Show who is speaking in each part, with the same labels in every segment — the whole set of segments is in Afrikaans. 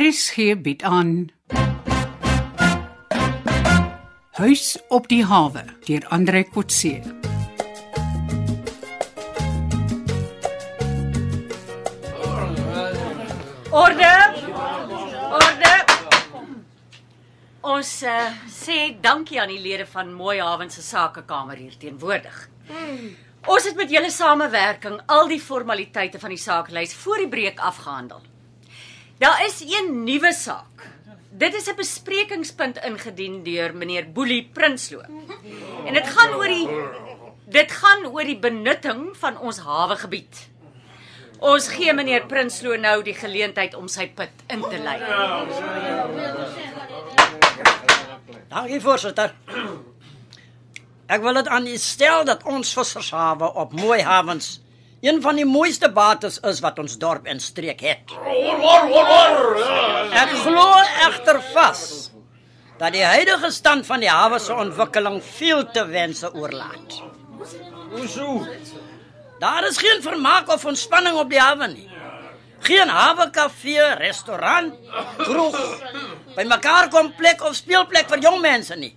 Speaker 1: RSG bied aan Huis op die hawe deur Andre Kotse.
Speaker 2: Orde. Orde. Ons uh, sê dankie aan die lede van Mooi Haven se sakekamer hier teenwoordig. Ons het met julle samewerking al die formaliteite van die saaklys voor die breek afgehandel. Daar is een nuwe saak. Dit is 'n besprekingspunt ingedien deur meneer Boelie Prinsloo. En dit gaan oor die dit gaan oor die benutting van ons hawegebied. Ons gee meneer Prinsloo nou die geleentheid om sy put in te lei.
Speaker 3: Dankie voorsitter. Ek wil dit aan u stel dat ons vissershawe op mooi hawens een van die mooiste bates is wat ons dorp en streek het. Ek glo egter vas dat die huidige stand van die hawe se ontwikkeling veel te wense oorlaat.
Speaker 4: Hoezo?
Speaker 3: Daar is geen vermaak of ontspanning op die hawe nie. Geen hawekafee, restaurant, kroeg, bymekaar kom plek of speelplek vir jong mense nie.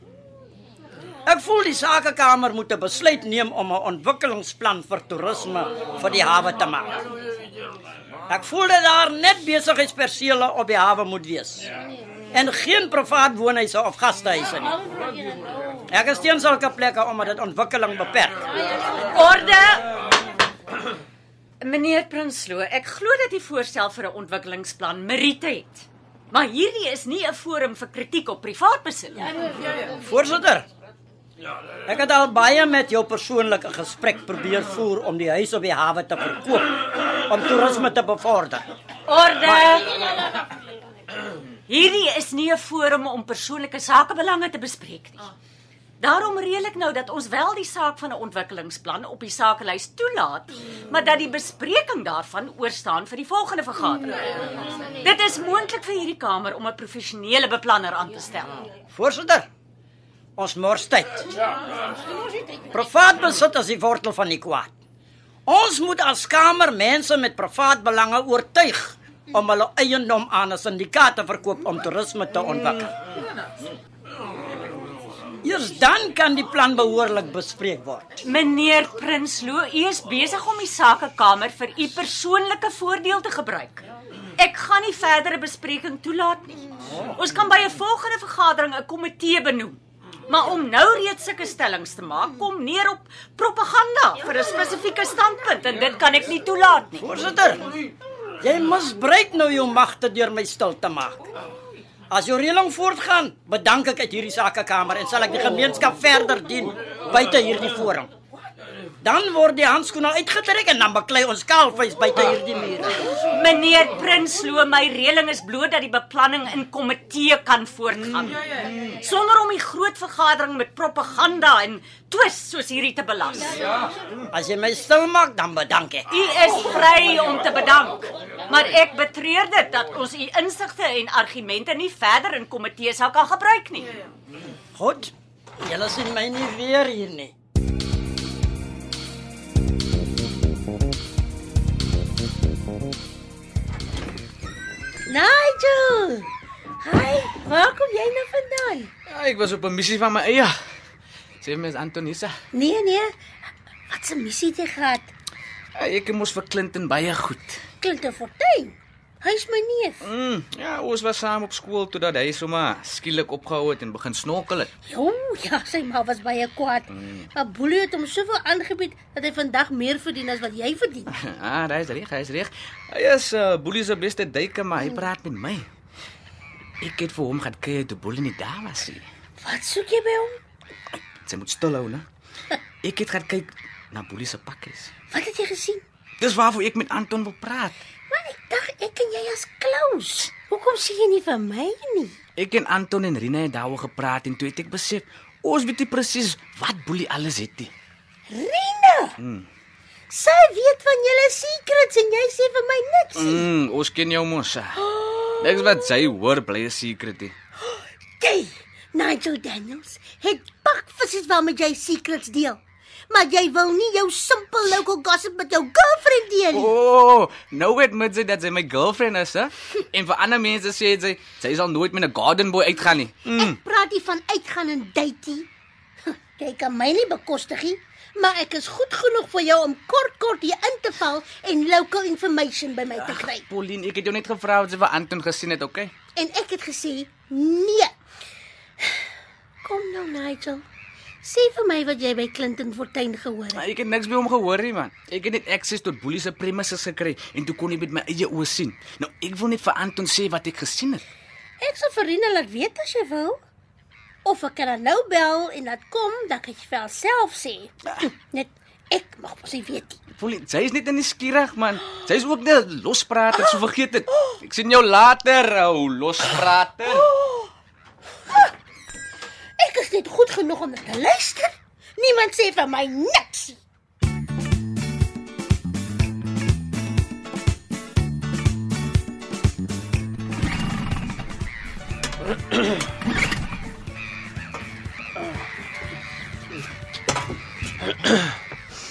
Speaker 3: Ek voel die sakekamer moet 'n besluit neem om 'n ontwikkelingsplan vir toerisme vir die hawe te maak. Ek voel dat daar net besigheidsperseele op die hawe moet wees en geen privaat woonhuise of gastehuise nie. Ek is teen sulke plekke omdat dit ontwikkeling beperk.
Speaker 2: Orde. Meneer Prinsloo, ek glo dat u voorstel vir 'n ontwikkelingsplan Merite het. Maar hierdie is nie 'n forum vir kritiek op privaat besit nie.
Speaker 3: Voorsitter. Ek het al baie met jou persoonlike gesprek probeer voer om die huis op die hawe te verkoop om toerisme te bevorder.
Speaker 2: Orde. Hierdie is nie 'n forum om persoonlike sakebelange te bespreek nie. Daarom reël ek nou dat ons wel die saak van 'n ontwikkelingsplan op die sakelys toelaat, maar dat die bespreking daarvan oorstaan vir die volgende vergadering. Dit is moontlik vir hierdie kamer om 'n professionele beplanner aan te stel.
Speaker 3: Voorsitter. Ons mors tyd. Privaat besit is die wortel van die kwaad. Ons moet as kamer mense met privaat belange oortuig om hulle eiendom aan 'n sindikaat te verkoop om toerisme te ontwikkel. Eers dan kan die plan behoorlik bespreek word.
Speaker 2: Meneer Prinsloo, u is besig om die sakekamer vir u persoonlike voordeel te gebruik. Ek gaan nie verdere bespreking toelaat nie. Ons kan by 'n volgende vergadering 'n komitee benoem. Maar om nou reeds sulke stellings te maak, kom neer op propaganda vir 'n spesifieke standpunt en dit kan ek nie toelaat nie.
Speaker 3: Voorsitter. Jy misbruik nou jou magte deur my stil te maak. As jou reëling voortgaan, bedank ek uit hierdie sakekamer en sal ek die gemeenskap verder dien buite hierdie forum. Dan word die handskoene uitgetrek en dan beklei ons kaalvuis buite hierdie mure.
Speaker 2: Meneer Prinsloo, my reëling is bloot dat die beplanning in komitee kan voortgaan. Sonder om die groot vergadering met propaganda en twis soos hierdie te belas.
Speaker 3: As jy my stil maak, dan bedank ek.
Speaker 2: U is vry om te bedank, maar ek betreur dit dat ons u insigte en argumente nie verder in komitee sal kan gebruik nie.
Speaker 3: Goed. Julle sien my nie weer hier nie.
Speaker 5: Nigel! Hi, waar kom jy nou vandaan?
Speaker 4: Ja, ek was op 'n missie van my eie. Sê mes Antonisa.
Speaker 5: Nee, nee. Wat 'n missie het jy gehad?
Speaker 4: ja, Ek moes vir Clinton baie goed.
Speaker 5: Klink te fortuin. Hy's my neef.
Speaker 4: Mm, ja, ons was saam op skool totdat hy sommer skielik opgehou het en begin snorkel het.
Speaker 5: Jo, ja, sy ma was baie kwaad. Maar Boelie het hom soveel aangebied dat hy vandag meer verdien as wat jy verdien.
Speaker 4: Ah, hy's reg, hy's reg. Hy is uh, Boelie se beste duiker, maar hy praat met my. Ek het vir hom gaan kyk toe Boelie nie daar was nie.
Speaker 5: Wat soek jy by hom?
Speaker 4: Sy moet stil hou, né? Ek het gaan kyk na Boelie se pakkies.
Speaker 5: Wat het jy gesien?
Speaker 4: Dis waarvoor ek met Anton wil praat.
Speaker 5: Maar ek dink ek en jy as close. Hoekom sê jy nie vir my nie?
Speaker 4: Ek en Anton en Rina het daaroor gepraat en toe het ek besef ons weet nie presies wat Boelie alles het nie.
Speaker 5: Rina. Sy weet van julle secrets en jy sê vir my niks. nie.
Speaker 4: Mm, ons ken jou mos. ah. Niks wat sy hoor bly 'n secret hê.
Speaker 5: Jy, Nigel Daniels, het pakvisse waarmee jy secrets deel. maar jy wil nie jou simpel local gossip met jou girlfriend deel nie.
Speaker 4: Oh, nou admit sy dat sy my girlfriend is, hè? En vir ander mense sê sy sy sal nooit met 'n garden boy uitgaan nie.
Speaker 5: Ek praat nie van uitgaan en datey. Jy kan my nie bekostig nie, maar ek is goed genoeg vir jou om kort kort hier in te val en local information by my te kry.
Speaker 4: Pauline, ek het jou net gevra wat jy vir Anton gesien het, okay?
Speaker 5: En ek het gesê nee. Kom nou Nigel. Sê vir my wat jy by Clinton Fortuin gehoor het.
Speaker 4: Maar ek het niks by hom gehoor nie, man. Ek het net access tot Boelie se premises gekry en toe kon ek met my eie oë sien. Nou, ek wil net vir Anton sê wat ek gesien het.
Speaker 5: Ek sal vir Rina laat weet as jy wil. Of ek kan haar nou bel en laat kom, dan kan jy vir haarself sê. Net ek mag mos nie weet nie.
Speaker 4: Pauline, sy is net nuuskierig, man. Sy is ook net 'n losprater, so vergeet dit. Ek sien jou later, ou losprater.
Speaker 5: Ek is net goed genoeg om te luister. Niemand sê van my niks. nie.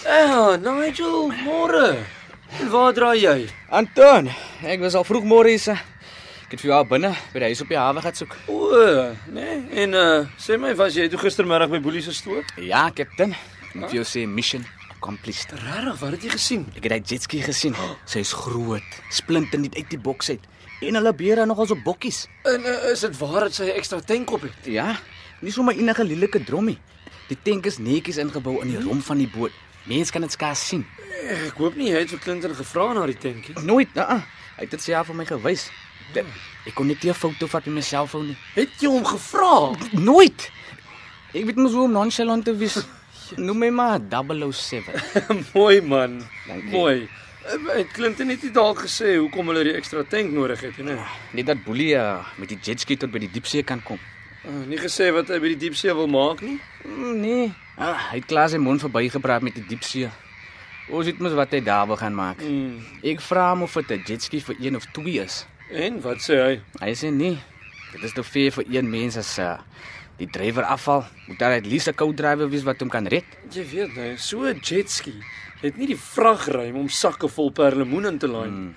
Speaker 6: Ja, Nigel, môre. En Waar draai jy?
Speaker 4: Anton, ek was al vroeg môre hier. Ek het vir jou al binne by die huis op die hawe gaan soek.
Speaker 6: O, nee. En uh sê my, was jy toe gistermiddag by Boelie se stoor?
Speaker 4: Ja, kaptein. Ek moet jou sê mission accomplished.
Speaker 6: Regtig, wat het jy gesien?
Speaker 4: Ek het daai jetski gesien. Sy's groot, splinter net uit die boks uit. En hulle beere nogal so bokkies.
Speaker 6: En uh, is dit waar dat sy 'n ekstra tank op het?
Speaker 4: Ja, nie sommer enige lelike drommie. Die tank is netjies ingebou in die romp van die boot. Mense kan dit skaars sien.
Speaker 6: Ek hoop nie jy het vir Clinton gevra na die tankie.
Speaker 4: Nooit, uh -uh. Hy het dit self vir my gewys. Dit- Ek kon net nie 'n foto vat met my selfoon nie.
Speaker 6: Het jy hom gevra?
Speaker 4: Nooit. Ek weet mos hoe om nonchalant te wees. Noem my maar 007.
Speaker 6: Mooi man.
Speaker 4: Dankie.
Speaker 6: Mooi. Eh, Het Clinton net nie dalk gesê hoekom hulle die ekstra tank nodig het nie? Nee.
Speaker 4: Net dat Boelie uh, met die jetski tot by die diepsee kan kom.
Speaker 6: Uh, nie gesê wat hy by die diepsee wil maak nie.
Speaker 4: Mm, nee. Ah, hy het klaar sy mond verbygepraat met die diepsee. Ons weet mos wat hy daar wil gaan maak.
Speaker 6: Mm.
Speaker 4: Ek vra hom of dit 'n jetski vir een of twee is.
Speaker 6: En wat sê hy?
Speaker 4: Hy sê nee. Dit is te veel vir een mens as uh, die drywer afval. Moet daar at least 'n co-driver wees wat hom kan red.
Speaker 6: Jy weet nou, so 'n jetski het nie die vragruim om sakke vol perlemoen in te laai nie.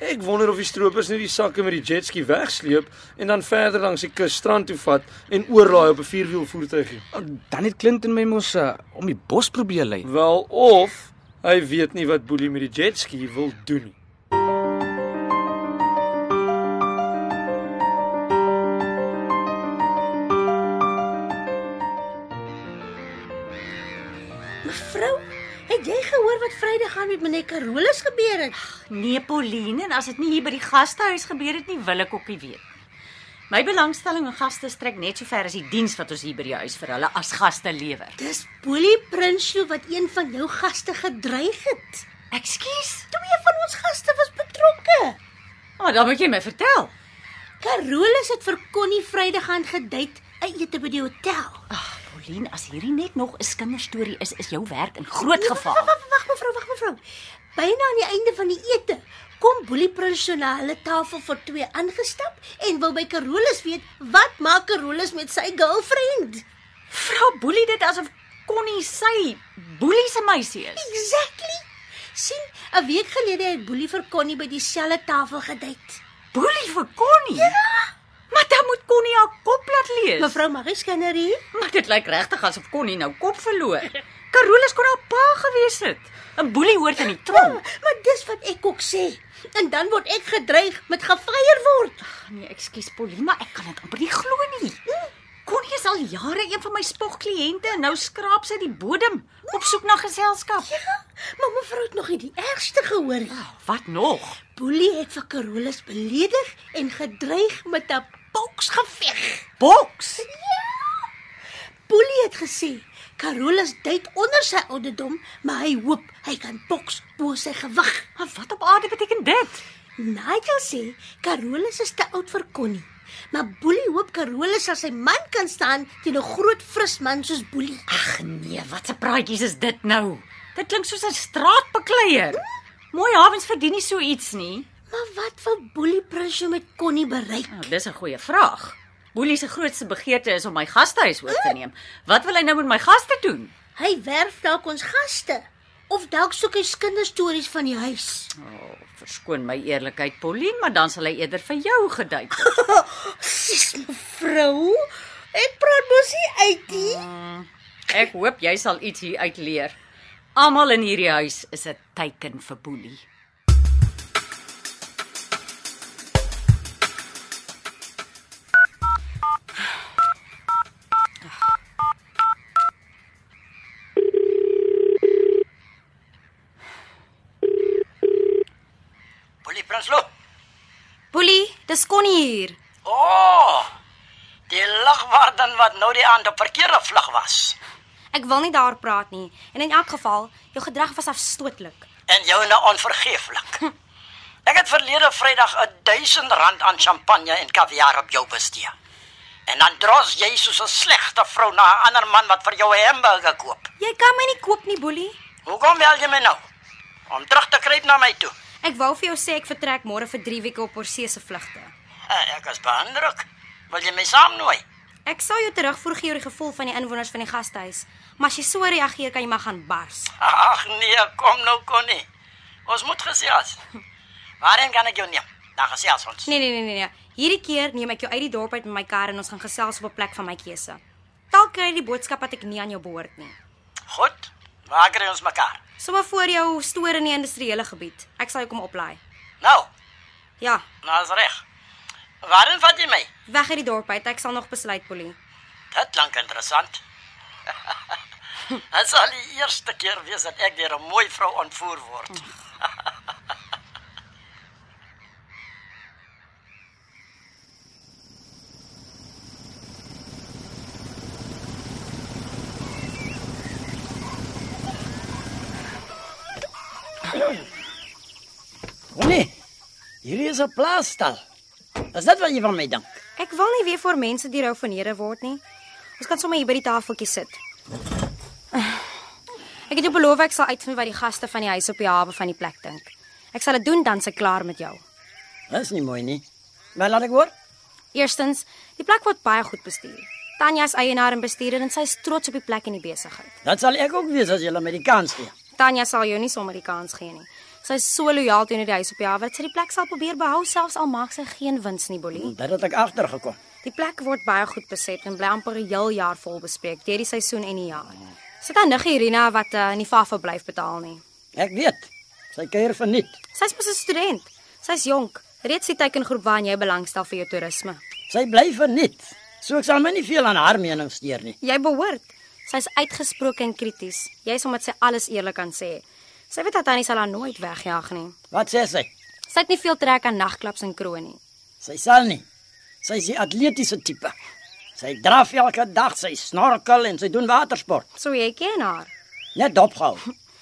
Speaker 6: Ek wonder of die stroopers net die sakke met die jetski wegsleep en dan verder langs die kus strand toe vat en oorlaai op 'n vierwiel voertuigie.
Speaker 4: Dan het Clinton my mos uh, om die bos probeer lei.
Speaker 6: Wel of hy weet nie wat Boelie met die jetski wil doen nie.
Speaker 5: Mevrou, het jy gehoor wat Vrydag gaan met meneer Carolus gebeur het?
Speaker 2: Nee, Pauline, en as dit nie hier by die gastehuis gebeur het nie, wil ek ook nie weet. My belangstelling in gaste strek net so ver as die diens wat ons hier by die huis vir hulle as gaste lewer.
Speaker 5: Dis Boelie Prinsloo wat een van jou gaste gedreig het.
Speaker 2: Ekskuus.
Speaker 5: Twee van ons gaste was betrokke.
Speaker 2: Maar oh, dan moet jy my vertel.
Speaker 5: Carolus het vir Connie Vrydag gaan gedate, 'n ete by die hotel.
Speaker 2: Ag, Ah, Pauline, as hierdie net nog 'n kinderstorie is, is jou werk in groot
Speaker 5: Nee,
Speaker 2: gevaar.
Speaker 5: Wag, wag, wag mevrou, wag mevrou. Byna aan die einde van die ete kom Boelie Prinsloo na hulle tafel vir twee aangestap en wil by Carolus weet wat maak Carolus met sy girlfriend?
Speaker 2: Vra Boelie dit asof Connie sy Boelie se meisie is.
Speaker 5: Exactly. sien, 'n week gelede het Boelie vir Connie by dieselfde tafel gedate.
Speaker 2: Boelie vir Connie? Ja. Maar dan moet Connie haar kop laat lees.
Speaker 5: Mevrou Marie Skinner hier.
Speaker 2: Maar dit lyk regtig asof Connie nou kop verloor. Carolus kon haar pa gewees het. 'n Boelie hoort in die
Speaker 5: Ja,
Speaker 2: tronk.
Speaker 5: maar dis wat ek ook sê. En dan word ek gedreig met gefeier word.
Speaker 2: Ag nee, ekskuus Pauline, maar ek kan dit amper nie glo nie. Connie is al jare een van my spogkliënte en nou skraap sy die bodem op soek na geselskap.
Speaker 5: Ja, maar mevrou het nog nie die ergste gehoor nie.
Speaker 2: Wat nog?
Speaker 5: Boelie het vir Carolus beledig en gedreig met 'n boksgeveg.
Speaker 2: Boks.
Speaker 5: Boelie het gesê Carolus date onder sy ouderdom, maar hy hoop hy kan boks bo sy gewig.
Speaker 2: Maar wat op aarde beteken dit?
Speaker 5: Nigel sê Carolus is te oud vir Connie. Maar Boelie hoop Carolus sal sy man kan staan teen 'n groot fris man soos Boelie.
Speaker 2: Ag nee, wat 'n praatjies is dit nou? Hm? Dit klink soos 'n straatbekleier. Mooi hawens verdien nie so iets nie.
Speaker 5: Maar wat wil Boelie Prinsje met Connie bereik?
Speaker 2: Nou, dis 'n goeie vraag. Boelie se grootste begeerte is om my gastehuis oor te neem. Wat wil hy nou met my gaste doen?
Speaker 5: Hy werf dalk ons gaste of dalk soek hy kinderstories van die huis.
Speaker 2: Oh, verskoon my eerlikheid, Pauline, maar dan sal hy eerder vir jou geduik het.
Speaker 5: Sis mevrou, ek praat mos nie uit nie.
Speaker 2: Ek hoop jy sal iets hier uit leer. Almal in hierdie huis is 'n teiken vir boelie.
Speaker 3: Boelie Prinsloo.
Speaker 7: Boelie, dis Connie hier.
Speaker 3: O! Oh, die lagwarden wat nou die aand op verkeerde vlug was.
Speaker 7: Ek wil nie daar praat nie. En in elk geval, jou gedrag was afstootlik.
Speaker 3: en jou nou onvergeeflik. Ek het verlede Vrydag 'n 1000 rand aan champagne en kaviaar op jou bestee. En dan dros jy soos 'n slegte vrou na 'n ander man wat vir jou 'n hamburger koop.
Speaker 7: Jy kan my nie koop nie, Boelie.
Speaker 3: Hoekom bel jy my nou? Om terug te kruip na my toe.
Speaker 7: Ek wou vir jou sê ek vertrek môre vir 3 weke op oorsee se vlugte.
Speaker 3: Eh, Ek is beïndruk. Wil jy my saamnooi?
Speaker 7: Ek sal jou terugvoer gee oor die gevoel van die inwoners van die gastehuis, maar as jy so reageer, kan jy maar gaan bars.
Speaker 3: Ag nee, kom nou Connie. Ons moet gesels. Waarheen kan ek jou neem? Dan gesels ons.
Speaker 7: Nee, nee, nee, nee, nee. Hierdie keer neem ek jou uit die dorp uit met my kar en ons gaan gesels op 'n plek van my keuse. Dalk kry jy die boodskap wat ek nie aan jou behoort nie.
Speaker 3: Goed. Waar kry ons mekaar?
Speaker 7: Sommige voor jou stoor in die industriële gebied. Ek sal jou kom oplaai.
Speaker 3: Nou,
Speaker 7: Ja,
Speaker 3: nou is reg. Waarheen vat jy my?
Speaker 7: weg uit die dorp uit. Ek sal nog besluit, Boelie.
Speaker 3: Dit klink interessant. Dit sal die eerste keer wees dat ek deur 'n mooi vrou ontvoer word. Nee, hierdie is 'n plaasstal. Is dit wat jy van my dink?
Speaker 7: Ek wil nie weer voor mense die rou verneder word nie. Ons kan sommer hier by die tafeltjie sit. Ek het jou beloof ek sal uitvind wat die gaste van die huis op die hawe van die plek dink. Ek sal dit doen dan se klaar met jou.
Speaker 3: Dis nie mooi nie. Maar laat ek hoor.
Speaker 7: Eerstens, die plek word baie goed bestuur. Tanya is eienaar en bestuurder en sy is trots op die plek en die besigheid.
Speaker 3: Dat sal ek ook wees as jy hulle met die kans gee.
Speaker 7: Tanya sal jou nie sommer die kans gee nie. Sy is so lojaal teenoor die huis op die hawe dat sy die plek sal probeer behou selfs al maak sy geen wins nie, Bolie.
Speaker 3: Dit het ek agtergekom.
Speaker 7: Die plek word baie goed beset en bly amper 'n heel jaar vol bespreek deur die seisoen en die jaar. Sit aan niggie Irina wat uh, nie vir verblyf betaal nie.
Speaker 3: Ek weet. Sy kuier verniet.
Speaker 7: Sy's mos 'n student. Sy's jonk. Reeds die teikengroep waaraan jy belangstel vir jou toerisme.
Speaker 3: Sy bly verniet. So ek sal my nie veel aan haar mening steur nie.
Speaker 7: Jy behoort. Sy's uitgesproke en krities. Jy's omdat sy alles eerlik kan sê. Sy weet dat Tannie sal haar nooit wegjaag nie.
Speaker 3: Wat sê sy?
Speaker 7: Sy het nie veel trek aan nagklaps en kroon nie.
Speaker 3: Sy sal nie. Sy is die atletiese tipe. Sy draf elke dag, sy snorkel en sy doen watersport.
Speaker 7: So jy ken haar.
Speaker 3: Net dophou.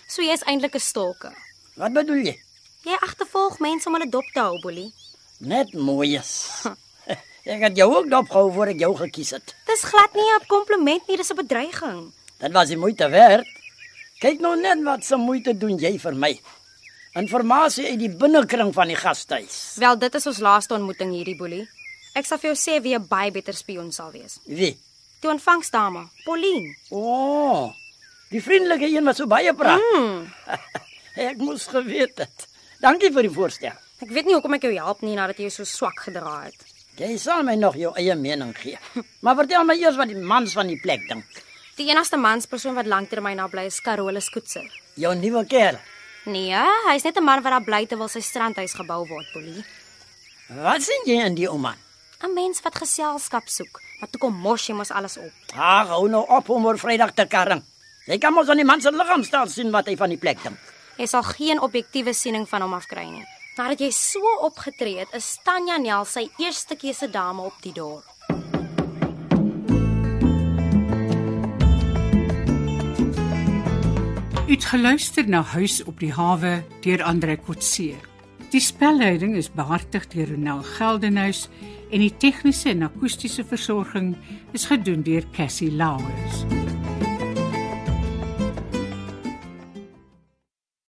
Speaker 7: So jy's eintlik 'n stalker.
Speaker 3: Wat bedoel jy?
Speaker 7: Jy agtervolg mense om hulle dop te hou, Boelie.
Speaker 3: Net mooies. Ek het jou ook dophou voor ek jou gekies het.
Speaker 7: Dis glad nie 'n kompliment nie, dis 'n bedreiging.
Speaker 3: Dit was die moeite werd. Kyk nou net wat se moeite doen jy vir my. Informasie uit die binnekring van die gastehuis.
Speaker 7: Wel, dit is ons laaste ontmoeting hierdie boelie. Ek sal vir jou sê wie 'n baie beter spioen sal wees.
Speaker 3: Wie?
Speaker 7: Die ontvangsdame, Pauline.
Speaker 3: O, oh, die vriendelike een wat so baie praat. Mm. ek moes geweet het. Dankie vir die voorstel.
Speaker 7: Ek weet nie hoekom ek jou help nie nadat jy jou so swak gedra het.
Speaker 3: Jy sal my nog jou eie mening gee. Maar vertel my eers wat die mans van die plek dink.
Speaker 7: Die enigste manspersoon wat lanktermyn daar bly is Carolus Koetser.
Speaker 3: Jou nuwe kerel.
Speaker 7: Nee, hè? hy's net 'n man wat daar bly terwyl sy strandhuis gebou word, Pauline.
Speaker 3: Wat sien jy in die ou man?
Speaker 7: 'n Mens wat geselskap soek, maar toe kom mors jy mos alles op.
Speaker 3: Ag, hou nou op om oor Vrydag te karring. Jy kan mos aan die man se liggaamstaal sien wat hy van die plek dink.
Speaker 7: Jy sal geen objektiewe siening van hom afkry nie. Nadat jy so opgetree het, is Tanya Nel sy eerste keuse dame op die dorp.
Speaker 1: U het geluister na Huis op die hawe deur Andre Kotse. Die spelleiding is behartig deur Ronel Geldenhuys en die tegniese en akoestiese versorging is gedoen deur Cassie Lauers.